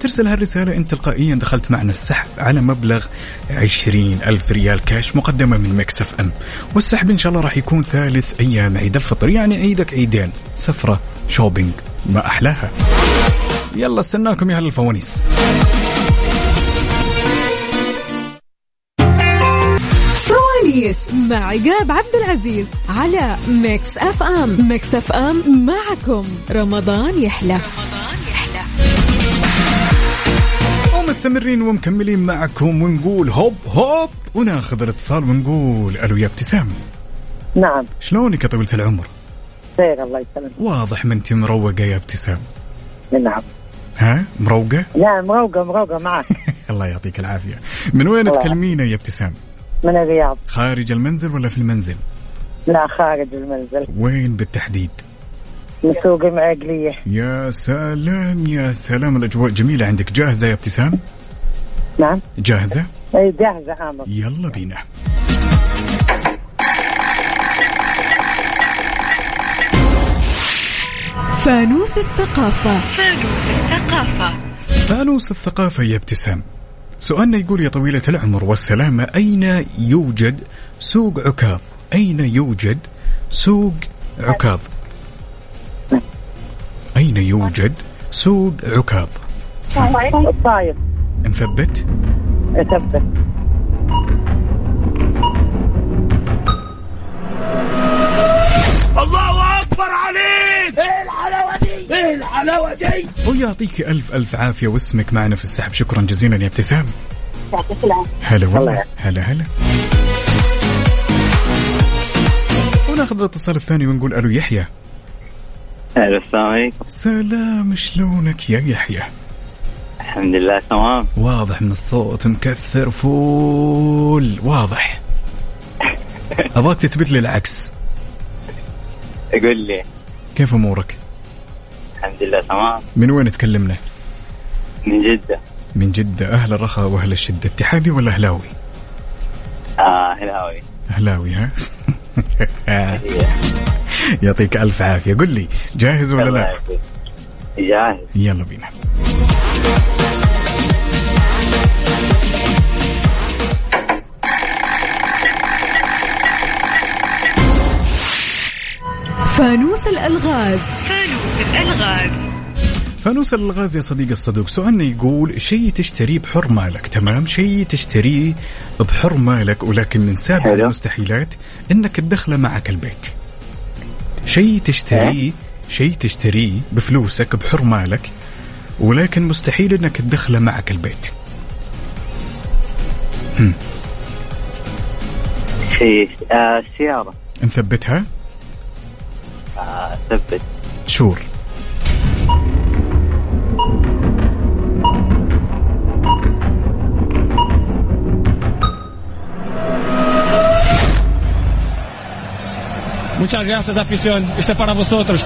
ترسل هالرسالة انت تلقائيا دخلت معنا السحب على مبلغ 20 ألف ريال كاش مقدمة من مكسف أم والسحب إن شاء الله راح يكون ثالث أيام عيد الفطر يعني عيدك عيدين سفرة شوبينج ما أحلاها يلا استناكم يا هل الفوانيس
فوانيس مع عقاب عبد العزيز على ميكس اف ام ميكس اف ام معكم رمضان يحلى
ومستمرين ومكملين معكم ونقول هوب هوب وناخذ الاتصال ونقول الو يا ابتسام
نعم
شلونك يا طويلة العمر؟
خير الله يسلمك
واضح ما انت مروقة يا ابتسام
نعم
ها مروقة؟
لا مروقة مروقة معك
الله يعطيك العافية من وين
الله.
تكلمينا يا ابتسام؟
من الرياض
خارج المنزل ولا في المنزل؟
لا خارج المنزل
وين بالتحديد؟
من سوق المعقلية
يا سلام يا سلام الأجواء جميلة عندك جاهزة يا ابتسام؟
نعم
جاهزة؟
أي جاهزة آه. آمر
يلا بينا
فانوس الثقافة
فانوس الثقافة يا ابتسام سؤالنا يقول يا طويلة العمر والسلامة أين يوجد سوق عكاظ أين يوجد سوق عكاظ أين يوجد سوق عكاظ
الطايف
نثبت
ثبت
الله اكبر عليك ايه الحلاوه دي ايه الحلاوه دي
ويعطيك ألف ألف عافية واسمك معنا في السحب شكرا جزيلا يا ابتسام
يعطيك العافية
هلا والله
يعافيك.
هلا هلا وناخذ الاتصال الثاني ونقول ألو يحيى
الو السلام عليكم
سلام شلونك يا يحيى
الحمد لله تمام
واضح من الصوت مكثر فول واضح أبغاك تثبت لي العكس
قول لي
كيف أمورك
الحمد لله تمام
من وين تكلمنا
من جدة
من جدة أهل الرخاء وأهل الشدة اتحادي ولا أهلاوي
اه هلاوي إيه،
أهلاوي ها يعطيك ألف عافية قل لي جاهز ولا
الله
لا
يعافيك. جاهز
يلا بينا
فانوس الألغاز
فانوس الغاز يا صديقي الصدوق سؤالنا يقول شيء تشتريه بحر مالك تمام شيء تشتريه بحر مالك ولكن من سابع
حلو.
المستحيلات انك تدخله معك البيت شيء تشتريه شيء تشتريه بفلوسك بحر مالك ولكن مستحيل انك تدخله معك البيت
شيء آه السيارة
نثبتها
آه ثبت
شور
Muchas gracias, afición. Este es para vosotros.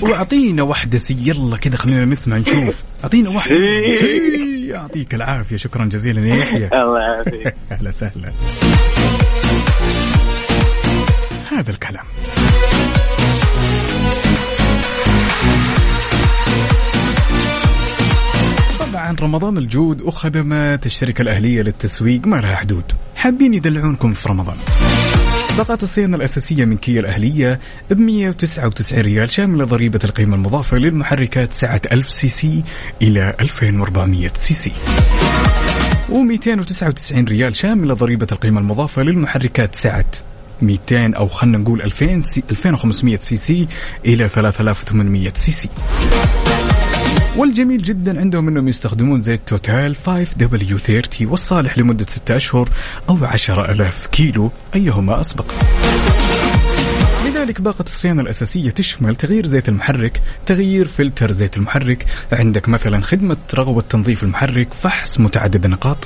واعطينا واحدة سي يلا كذا خلينا نسمع نشوف اعطينا واحدة
إيه.
سي. يعطيك العافية شكرا جزيلا يا يحيى
الله يعافيك
اهلا وسهلا هذا الكلام عن رمضان الجود وخدمات الشركة الأهلية للتسويق ما لها حدود حابين يدلعونكم في رمضان بطاقة الصيانة الأساسية من كيا الأهلية ب 199 ريال شاملة ضريبة القيمة المضافة للمحركات سعة 1000 سي سي إلى 2400 سي سي و299 ريال شاملة ضريبة القيمة المضافة للمحركات سعة 200 أو خلنا نقول 2000 سي 2500 سي سي إلى 3800 سي سي والجميل جدا عندهم انهم يستخدمون زيت توتال 5W30 والصالح لمدة 6 اشهر او 10000 كيلو ايهما اسبق. لذلك باقة الصيانة الأساسية تشمل تغيير زيت المحرك تغيير فلتر زيت المحرك عندك مثلا خدمة رغوة تنظيف المحرك فحص متعدد النقاط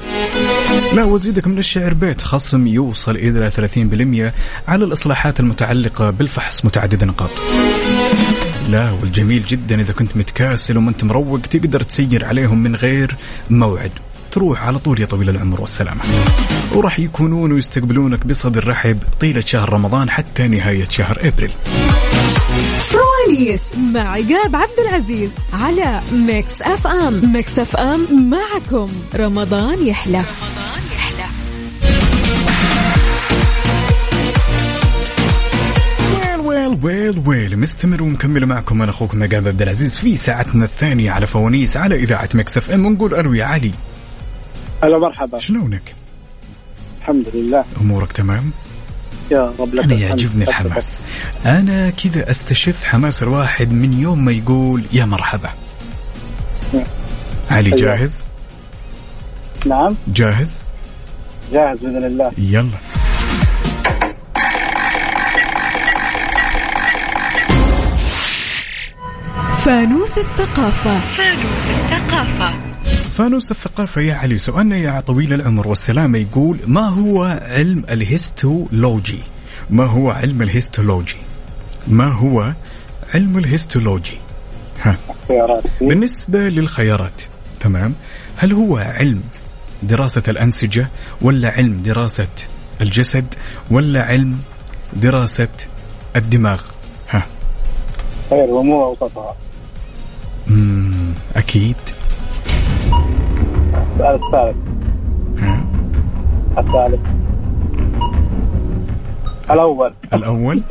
لا وزيدك من الشعر بيت خصم يوصل إلى 30% على الإصلاحات المتعلقة بالفحص متعدد النقاط لا والجميل جدا إذا كنت متكاسل وما أنت مروق تقدر تسير عليهم من غير موعد تروح على طول يا طويل العمر والسلامة وراح يكونون ويستقبلونك بصدر رحب طيلة شهر رمضان حتى نهاية شهر أبريل
فرونيس مع عقاب عبد العزيز على ميكس أف أم ميكس أف أم معكم رمضان يحلى
ويل ويل ويل مستمر ومكمل معكم انا اخوكم عقاب عبد العزيز في ساعتنا الثانيه على فوانيس على اذاعه مكسف ام ونقول الو يا علي
هلا مرحبا
شلونك؟
الحمد لله
امورك تمام؟
يا رب لك
انا يعجبني الحماس انا كذا استشف حماس الواحد من يوم ما يقول يا مرحبا علي
أيوة.
جاهز؟
نعم
جاهز؟
جاهز باذن الله
يلا
فانوس الثقافة
فانوس الثقافة
فانوس الثقافة يا علي سؤالنا يا طويل العمر والسلامة يقول ما هو علم الهيستولوجي ما هو علم الهيستولوجي ما هو علم الهيستولوجي ها
خيارات
بالنسبة للخيارات تمام هل هو علم دراسة الأنسجة ولا علم دراسة الجسد ولا علم دراسة الدماغ ها
خير ومو اوسطها
مم، أكيد
السؤال الثالث
ها
الثالث الاول
الأول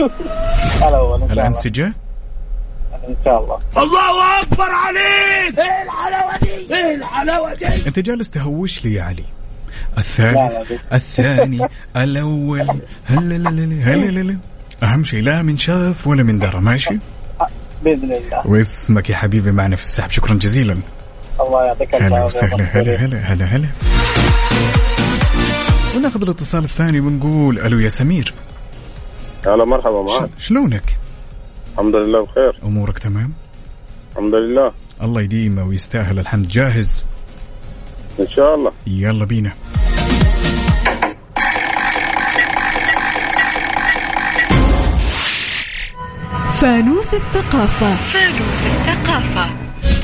الاول إن شاء الله.
الأنسجة
ان شاء الله إيه
الله اكبر عليك ايه الحلاوه دي ايه الحلاوه دي
أنت جالس تهوش لي يا علي
لا،
الثالث
لا،
الثاني الأول هلللل هلللل أهم شيء لا من شاف ولا من درى ماشي
باذن الله
واسمك يا حبيبي معنا في السحب شكرا جزيلا
الله يعطيك
هلا
العافيه
وسهلا هلا هلا هلا هلا وناخذ الاتصال الثاني ونقول الو يا سمير
هلا مرحبا معك
ش- شلونك؟
الحمد لله بخير
امورك تمام؟
الحمد لله
الله يديمه ويستاهل الحمد جاهز
ان شاء الله
يلا بينا
فانوس الثقافة
فانوس الثقافة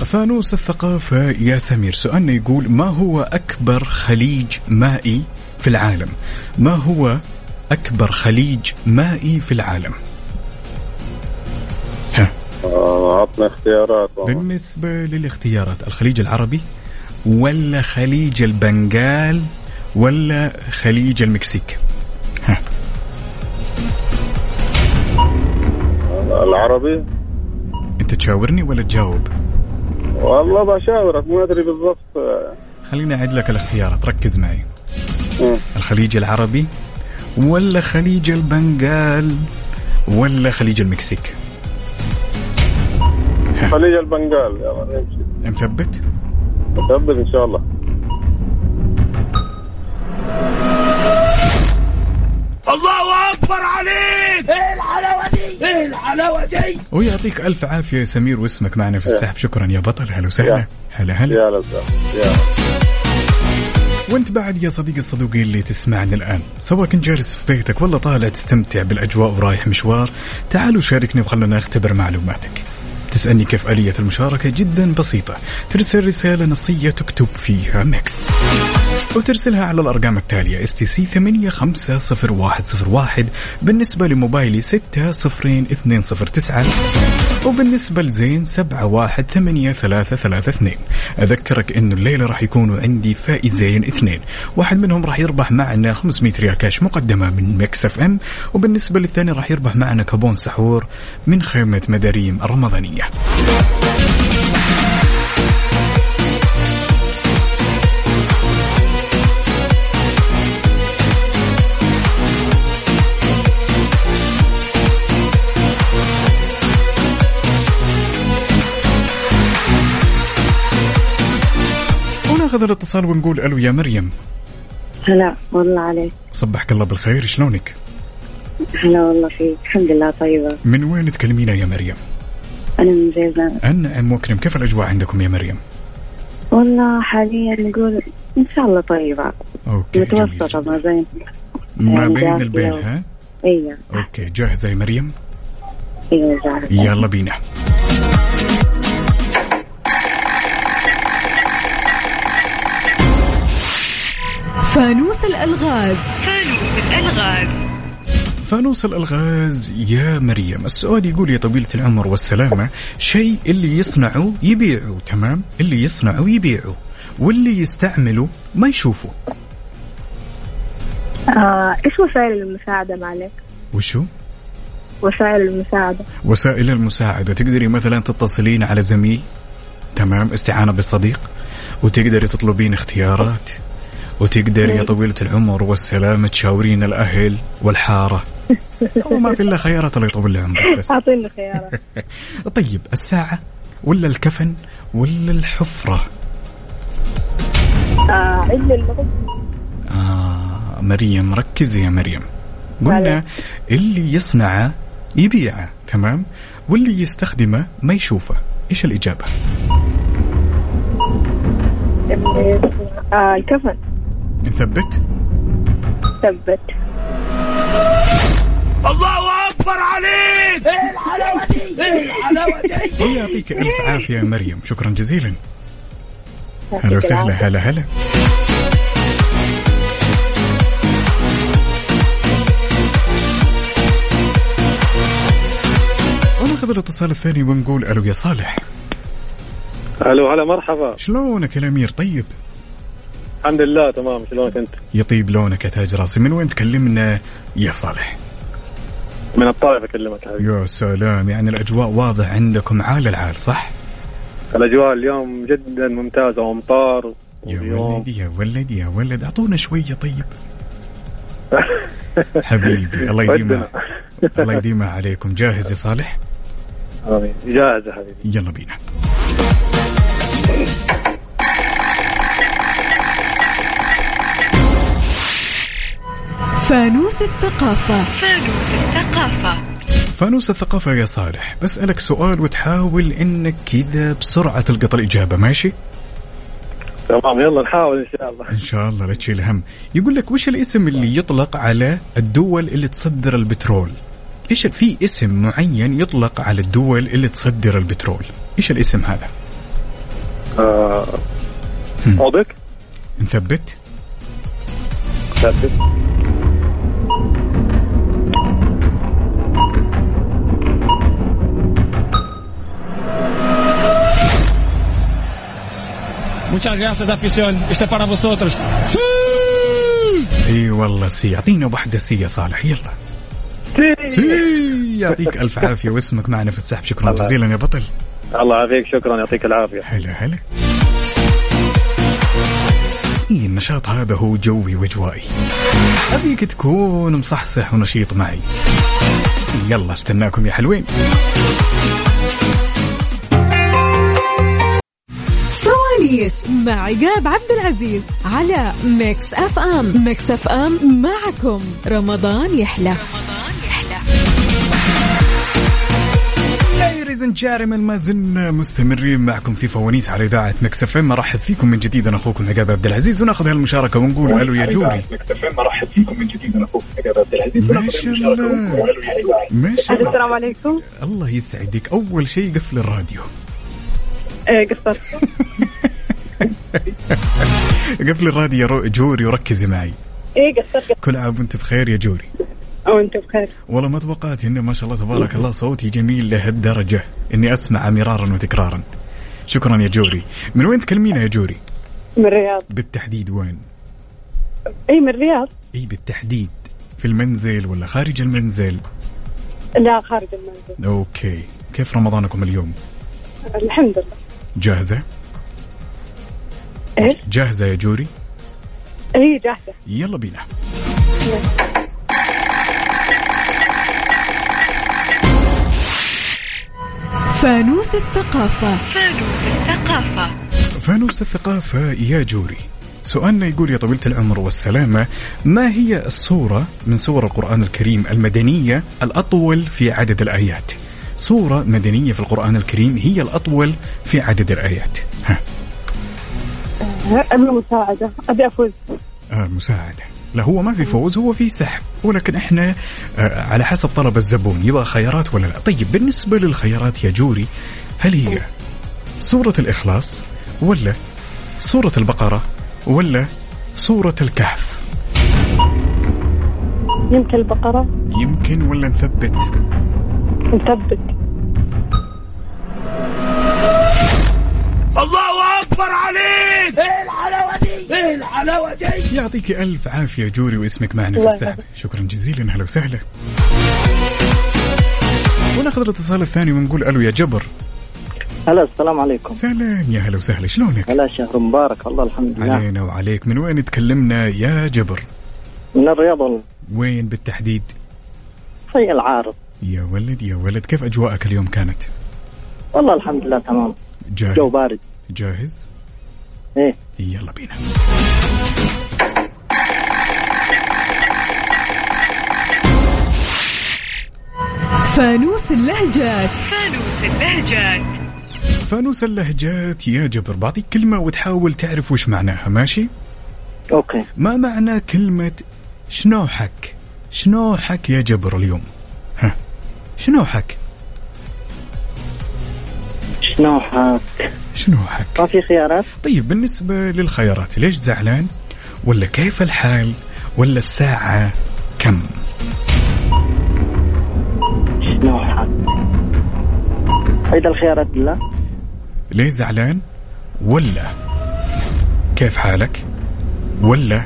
فانوس الثقافة يا سمير سؤالنا يقول ما هو أكبر خليج مائي في العالم ما هو أكبر خليج مائي في العالم
آه، عطنا اختيارات والله.
بالنسبة للاختيارات الخليج العربي ولا خليج البنغال ولا خليج المكسيك
العربي
انت تشاورني ولا تجاوب
والله بشاورك ما ادري بالضبط آه،
خليني أعد لك الاختيارات ركز معي
مم.
الخليج العربي ولا خليج البنغال ولا خليج المكسيك
خليج البنغال يلا امشي
مثبت
نثبت ان شاء الله
الله اكبر عليك ايه الحلاوه دي ايه الحلاوه دي
ويعطيك ألف عافية يا سمير واسمك معنا في السحب شكرا يا بطل هلا وسهلا
يا.
هلا هلا
يا لزاف يا
وانت بعد يا صديقي الصدوقي اللي تسمعني الآن سواء كنت جالس في بيتك ولا طالع تستمتع بالأجواء ورايح مشوار تعالوا شاركني وخلنا نختبر معلوماتك تسألني كيف آلية المشاركة جدا بسيطة ترسل رسالة نصية تكتب فيها ميكس وترسلها على الأرقام التالية اس تي سي 850101 بالنسبة لموبايلي 602209 وبالنسبة لزين 718332 أذكرك أنه الليلة راح يكونوا عندي فائزين اثنين واحد منهم راح يربح معنا 500 ريال كاش مقدمة من مكس اف ام وبالنسبة للثاني راح يربح معنا كابون سحور من خيمة مداريم الرمضانية ناخذ الاتصال ونقول الو يا مريم
هلا والله عليك
صبحك الله بالخير شلونك؟
هلا والله فيك الحمد لله طيبة
من وين تكلمينا يا مريم؟
أنا من جيزان
أنا أم مكرم كيف الأجواء عندكم يا مريم؟
والله حاليا نقول إن شاء الله طيبة
أوكي
متوسطة ما بين
ما بين البين ها؟
ايوه
أوكي جاهزة يا مريم؟
ايوه جاهزة
يلا بينا
فانوس الالغاز
فانوس الالغاز
فانوس الالغاز يا مريم السؤال يقول يا طويله العمر والسلامه شيء اللي يصنعه يبيعه تمام اللي يصنعه يبيعه واللي يستعمله ما يشوفه
آه، ايش وسائل المساعده معلك
وشو
وسائل المساعده
وسائل المساعده تقدري مثلا تتصلين على زميل تمام استعانه بالصديق وتقدري تطلبين اختيارات وتقدر يا طويلة العمر والسلامة تشاورين الأهل والحارة هو ما في إلا خيارات الله يطول عمرك
بس أعطيني خيارات
طيب الساعة ولا الكفن ولا الحفرة؟
آه إلا
آه مريم ركزي يا مريم قلنا اللي يصنعه يبيعه تمام واللي يستخدمه ما يشوفه ايش الإجابة؟
آه الكفن
نثبت
ثبت
الله اكبر عليك ايه الحلاوه دي ايه الحلاوه دي
الله يعطيك الف عافيه يا مريم شكرا جزيلا هلا وسهلا هلا هلا وناخذ الاتصال الثاني ونقول الو يا صالح
الو هلا مرحبا
شلونك يا الامير طيب؟
الحمد لله تمام شلونك انت؟
يطيب لونك يا تاج راسي من وين تكلمنا يا صالح؟
من الطائف اكلمك حبيبي
يا سلام يعني الاجواء واضح عندكم عال العال صح؟
الاجواء اليوم جدا ممتازه وامطار
يا ولد يا ولد يا ولد اعطونا شويه طيب حبيبي الله يديمها الله يديمها عليكم جاهز يا صالح؟
امين جاهز يا حبيبي
يلا بينا
فانوس الثقافة
فانوس الثقافة
فانوس الثقافة يا صالح بسألك سؤال وتحاول انك كذا بسرعة تلقط الإجابة ماشي؟
تمام يلا نحاول ان شاء الله
ان شاء الله لا تشيل هم يقول لك وش الاسم اللي يطلق على الدول اللي تصدر البترول ايش في اسم معين يطلق على الدول اللي تصدر البترول ايش الاسم هذا
آه... اوبك
نثبت
ثبت
Muchas gracias, afición. Este para vosotros. Sí!
اي والله سي اعطينا واحده سي يا صالح يلا سي يعطيك الف عافيه واسمك معنا في السحب شكرا جزيلا يا بطل
الله يعافيك شكرا يعطيك العافيه
هلا هلا إيه النشاط هذا هو جوي واجوائي ابيك تكون مصحصح ونشيط معي يلا استناكم يا حلوين
فوانيس مع عقاب عبد العزيز على ميكس اف ام ميكس اف ام معكم رمضان يحلى
ليريز اند جارمن ما زلنا مستمرين معكم في فوانيس على اذاعه مكس اف ام ارحب فيكم من جديد انا اخوكم عقاب عبد العزيز وناخذ هالمشاركه ونقول الو يا جوري
مرحب فيكم من جديد انا اخوكم عقاب عبد العزيز
ما شاء الله ما شاء الله
السلام عليكم
الله
إيه،
يسعدك اول شيء قفل الراديو
ايه قصرت
قفل الراديو يا جوري وركزي معي
ايه قصرت
كل عام وانت بخير يا جوري
وانت بخير
والله ما توقعت انه ما شاء الله تبارك الله صوتي جميل لهالدرجه اني اسمعه مرارا وتكرارا شكرا يا جوري من وين تكلمينا يا جوري
من الرياض
بالتحديد وين
إيه،
اي من الرياض
اي بالتحديد في المنزل ولا خارج المنزل
لا خارج المنزل
اوكي كيف رمضانكم اليوم
الحمد لله
جاهزه
ايش
جاهزه يا جوري
إيه،
اي جاهزه
يلا بينا
فانوس الثقافة
فانوس الثقافة
فانوس الثقافة يا جوري سؤالنا يقول يا طويلة العمر والسلامة ما هي الصورة من سور القرآن الكريم المدنية الأطول في عدد الآيات صورة مدنية في القرآن الكريم هي الأطول في عدد الآيات ها
المساعدة أبي أفوز
آه مساعدة لا هو ما في فوز هو في سحب ولكن احنا آه على حسب طلب الزبون يبغى خيارات ولا لا طيب بالنسبة للخيارات يا جوري هل هي سورة الإخلاص ولا سورة البقرة ولا سورة الكهف
يمكن البقرة
يمكن ولا نثبت
نثبت
الله اكبر عليك ايه الحلاوه دي ايه الحلاوه دي
يعطيك الف عافيه جوري واسمك معنا في السحب شكرا جزيلا هلا وسهلا وناخذ الاتصال الثاني ونقول الو يا جبر
هلا السلام عليكم
سلام يا هلا وسهلا شلونك؟
هلا شهر مبارك والله الحمد لله
علينا وعليك من وين تكلمنا يا جبر؟
من الرياض والله
وين بالتحديد؟
في العارض
يا ولد يا ولد كيف اجواءك اليوم كانت؟
والله الحمد لله تمام
جاهز
جو بارد
جاهز؟
ايه
يلا بينا
فانوس اللهجات
فانوس اللهجات
فانوس اللهجات يا جبر بعطيك كلمة وتحاول تعرف وش معناها ماشي؟
اوكي
ما معنى كلمة شنوحك؟ شنوحك يا جبر اليوم؟ ها شنوحك؟
شنوحك
شنوحك؟
ما في خيارات؟
طيب بالنسبة للخيارات ليش زعلان؟ ولا كيف الحال؟ ولا الساعة كم؟
شنوحك عيد الخيارات بالله
ليه زعلان ولا كيف حالك ولا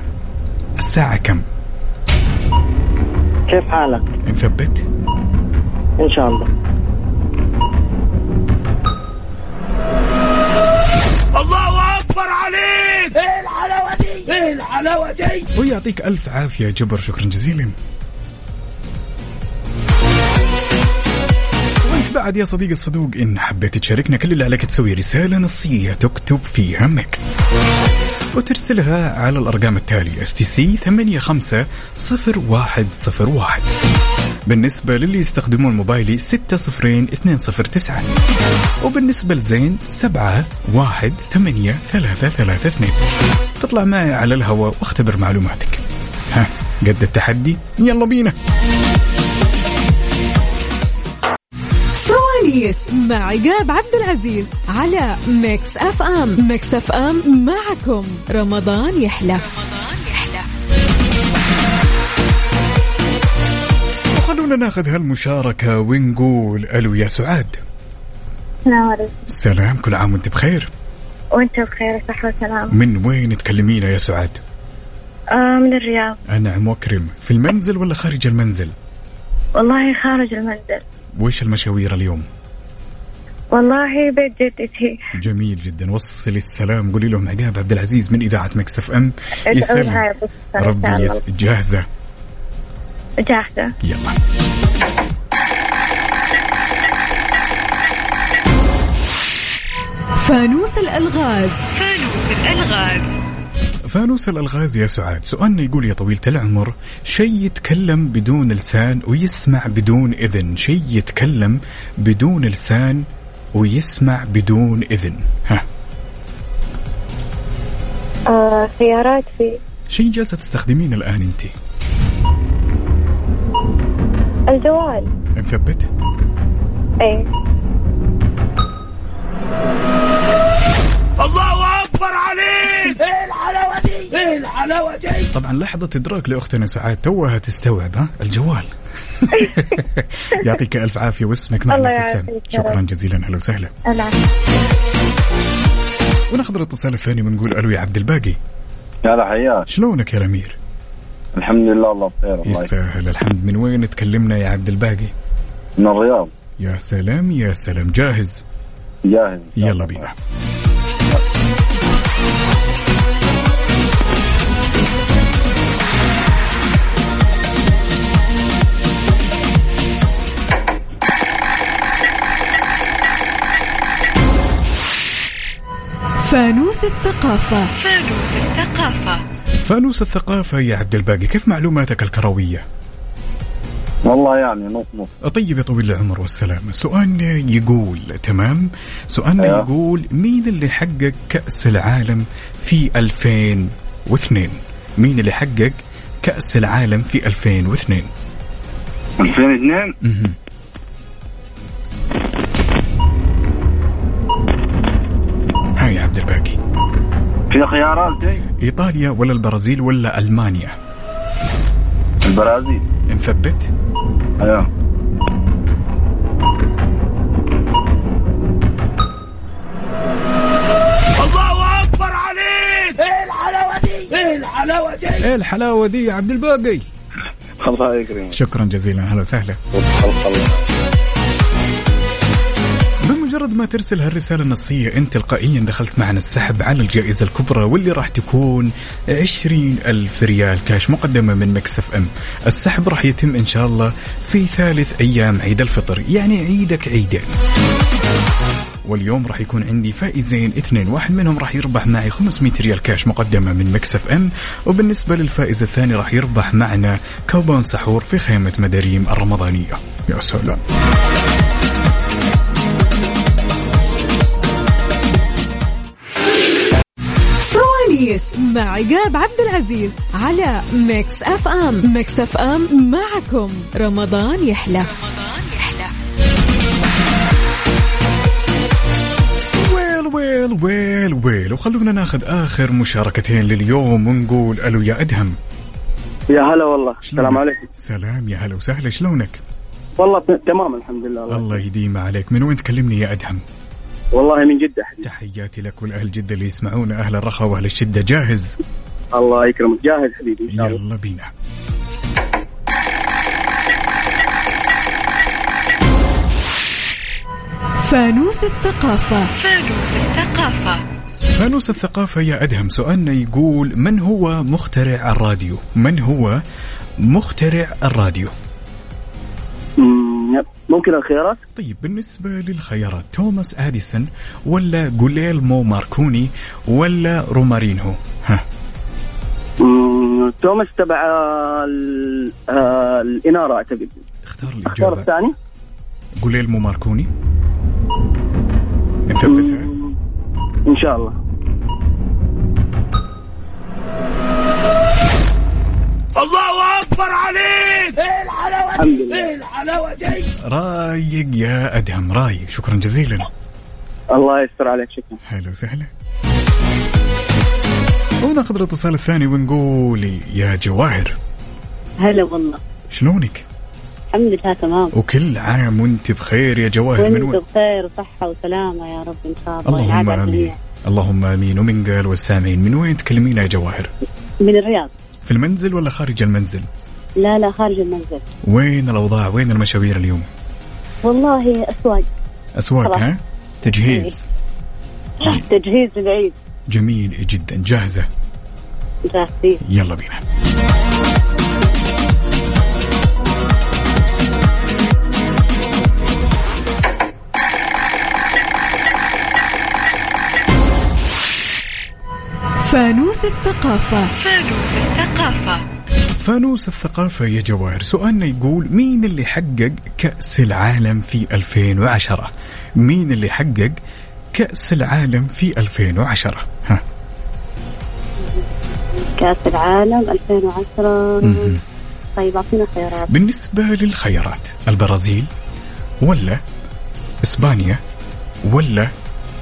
الساعة كم
كيف حالك
نثبت
إن شاء الله
الله أكبر عليك إيه الحلاوة دي إيه الحلاوة دي
ويعطيك ألف عافية جبر شكرا جزيلا بعد يا صديقي الصدوق إن حبيت تشاركنا كل اللي عليك تسوي رسالة نصية تكتب فيها مكس وترسلها على الأرقام التالية اس تي سي 850101 بالنسبة للي يستخدمون موبايلي 60209 وبالنسبة لزين 718332 تطلع معي على الهواء واختبر معلوماتك ها قد التحدي يلا بينا
كواليس مع عقاب عبد العزيز على ميكس اف ام ميكس اف ام معكم رمضان يحلى
خلونا ناخذ هالمشاركة ونقول الو يا سعاد
السلام عليكم
سلام كل عام وانت بخير
وانت بخير صحة وسلام
من وين تكلمينا يا سعاد؟
آه من الرياض
انعم واكرم في المنزل ولا خارج المنزل؟
والله خارج المنزل
وش المشاوير اليوم؟
والله بيت جدتي
جميل جدا وصلي السلام قولي لهم عقاب عبد العزيز من اذاعه مكس اف ام يسلم ربي يس... جاهزه
جاهزة
يلا
فانوس الالغاز
فانوس الألغاز
فانوس الالغاز يا سعاد سؤالنا يقول يا طويلة العمر شيء يتكلم بدون لسان ويسمع بدون اذن شيء يتكلم بدون لسان ويسمع بدون اذن ها
آه خيارات في
شيء جالسه تستخدمين الان انت
الجوال
نثبت
ايه
الله أكبر اكبر عليك ايه الحلاوه دي ايه الحلاوه دي
طبعا لحظه ادراك لاختنا سعاد توها تستوعب ها الجوال يعطيك الف عافيه واسمك معنا في السم شكرا جزيلا اهلا وسهلا وناخذ الاتصال الثاني ونقول الو يا عبد الباقي
يا حياك
شلونك يا الامير؟
الحمد لله الله بخير
يستاهل الحمد من وين تكلمنا يا عبد الباقي؟
من الرياض
يا سلام يا سلام جاهز؟
جاهز
يلا بينا
فانوس الثقافة
فانوس الثقافة
فانوس الثقافة يا عبد الباقي كيف معلوماتك الكروية؟
والله يعني نص نص
طيب يا طويل العمر والسلامة سؤالنا يقول تمام سؤالنا أيوه. يقول مين اللي حقق كأس العالم في 2002 مين اللي حقق كأس العالم في 2002
2002
اها ها يا عبد الباقي
في خيارات إيه؟
ايطاليا ولا البرازيل ولا المانيا
البرازيل
نثبت
ايوه
الله اكبر عليك ايه الحلاوه دي ايه الحلاوه دي
ايه الحلاوه دي يا عبد الباقي
الله يكرمك
شكرا جزيلا اهلا وسهلا بمجرد ما ترسل هالرسالة النصية انت تلقائيا دخلت معنا السحب على الجائزة الكبرى واللي راح تكون عشرين ألف ريال كاش مقدمة من مكسف ام السحب راح يتم ان شاء الله في ثالث ايام عيد الفطر يعني عيدك عيدين واليوم راح يكون عندي فائزين اثنين واحد منهم راح يربح معي 500 ريال كاش مقدمه من مكسف ام وبالنسبه للفائز الثاني راح يربح معنا كوبون سحور في خيمه مداريم الرمضانيه يا سلام
فوانيس مع عقاب عبد العزيز على ميكس اف ام ميكس اف ام معكم رمضان يحلى
ويل ويل ويل ويل وخلونا ناخذ اخر مشاركتين لليوم ونقول الو يا ادهم
يا هلا والله السلام عليكم
سلام يا هلا وسهلا شلونك؟
والله تمام الحمد لله الله,
الله يديم عليك من وين تكلمني يا ادهم؟
والله من جدة حبيبي
تحياتي لك والاهل جدة اللي يسمعونا اهل الرخاء واهل الشدة جاهز
الله يكرمك جاهز حبيبي ان شاء الله
يلا بينا
فانوس الثقافة
فانوس الثقافة
فانوس الثقافة يا أدهم سؤالنا يقول من هو مخترع الراديو من هو مخترع الراديو
مم، ممكن الخيارات
طيب بالنسبة للخيارات توماس أديسون ولا جوليلمو ماركوني ولا رومارينهو ها
مم، توماس تبع ال- آه، الإنارة أعتقد
اختار
الخيار
الإجابة
الثاني
جوليلمو ماركوني نثبتها
مم، إن شاء الله
الله اكبر عليك ايه الحلاوه
الحمد
دي
لله.
ايه الحلاوه دي
رايق يا أدهم رايق شكرا جزيلا
الله يستر عليك شكرا
هلا وسهلا وناخذ الاتصال الثاني ونقول يا جواهر
هلا والله
شلونك؟
الحمد لله تمام
وكل عام وانت بخير يا جواهر طيب، من
وانت
وين؟
بخير وصحة وسلامة يا رب إن شاء الله يعني.
اللهم
يعاد على
امين
الجميع.
اللهم امين ومن قال والسامعين من وين تكلمينا يا جواهر؟
من الرياض
في المنزل ولا خارج المنزل؟
لا لا خارج المنزل
وين الاوضاع؟ وين المشاوير اليوم؟
والله أسواق
اسواق
خلاص.
ها؟ تجهيز
تجهيز للعيد
جميل جدا جاهزه
جاهزين
يلا بينا
فانوس الثقافة
فانوس الثقافة
فانوس الثقافة يا جواهر سؤالنا يقول مين اللي حقق كأس العالم في 2010 مين اللي حقق كأس العالم في 2010 ها
كأس العالم 2010
مهم.
طيب أعطينا خيارات
بالنسبة للخيارات البرازيل ولا إسبانيا ولا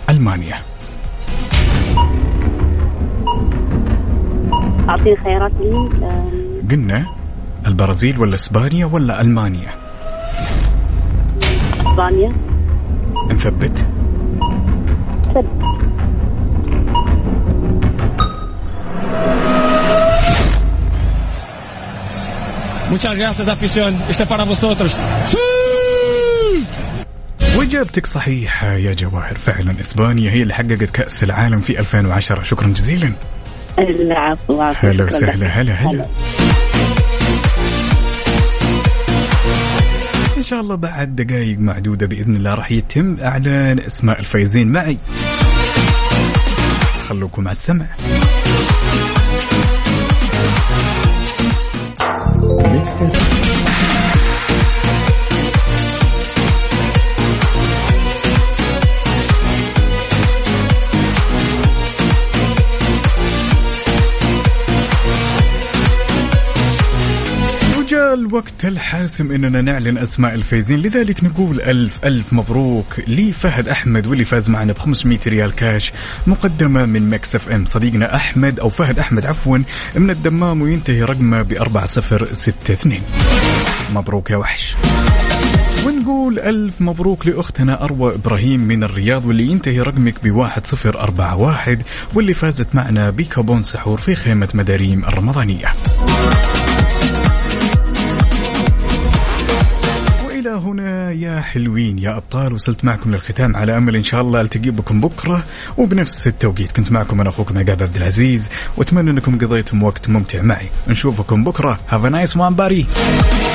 ألمانيا
اعطيني خيارات لي
قلنا البرازيل ولا اسبانيا ولا المانيا؟
اسبانيا
نثبت؟
ثبت
Muchas gracias, afición. Este para vosotros.
واجابتك صحيحة يا جواهر فعلا اسبانيا هي اللي حققت كأس العالم في 2010 شكرا جزيلا
العفو العفو.
هلا وسهلا هلا هلا ان شاء الله بعد دقائق معدودة بإذن الله راح يتم اعلان اسماء الفايزين معي خلوكم على السمع ميكس وجاء الوقت الحاسم اننا نعلن اسماء الفايزين لذلك نقول الف الف مبروك لفهد احمد واللي فاز معنا ب 500 ريال كاش مقدمه من مكس اف ام صديقنا احمد او فهد احمد عفوا من الدمام وينتهي رقمه ب 4062 مبروك يا وحش ونقول ألف مبروك لأختنا أروى إبراهيم من الرياض واللي ينتهي رقمك ب 1041 واللي فازت معنا بكابون سحور في خيمة مداريم الرمضانية إلى هنا يا حلوين يا أبطال وصلت معكم للختام على أمل إن شاء الله ألتقي بكم بكرة وبنفس التوقيت كنت معكم أنا أخوكم عقاب عبد العزيز وأتمنى أنكم قضيتم وقت ممتع معي نشوفكم بكرة هاف a nice one buddy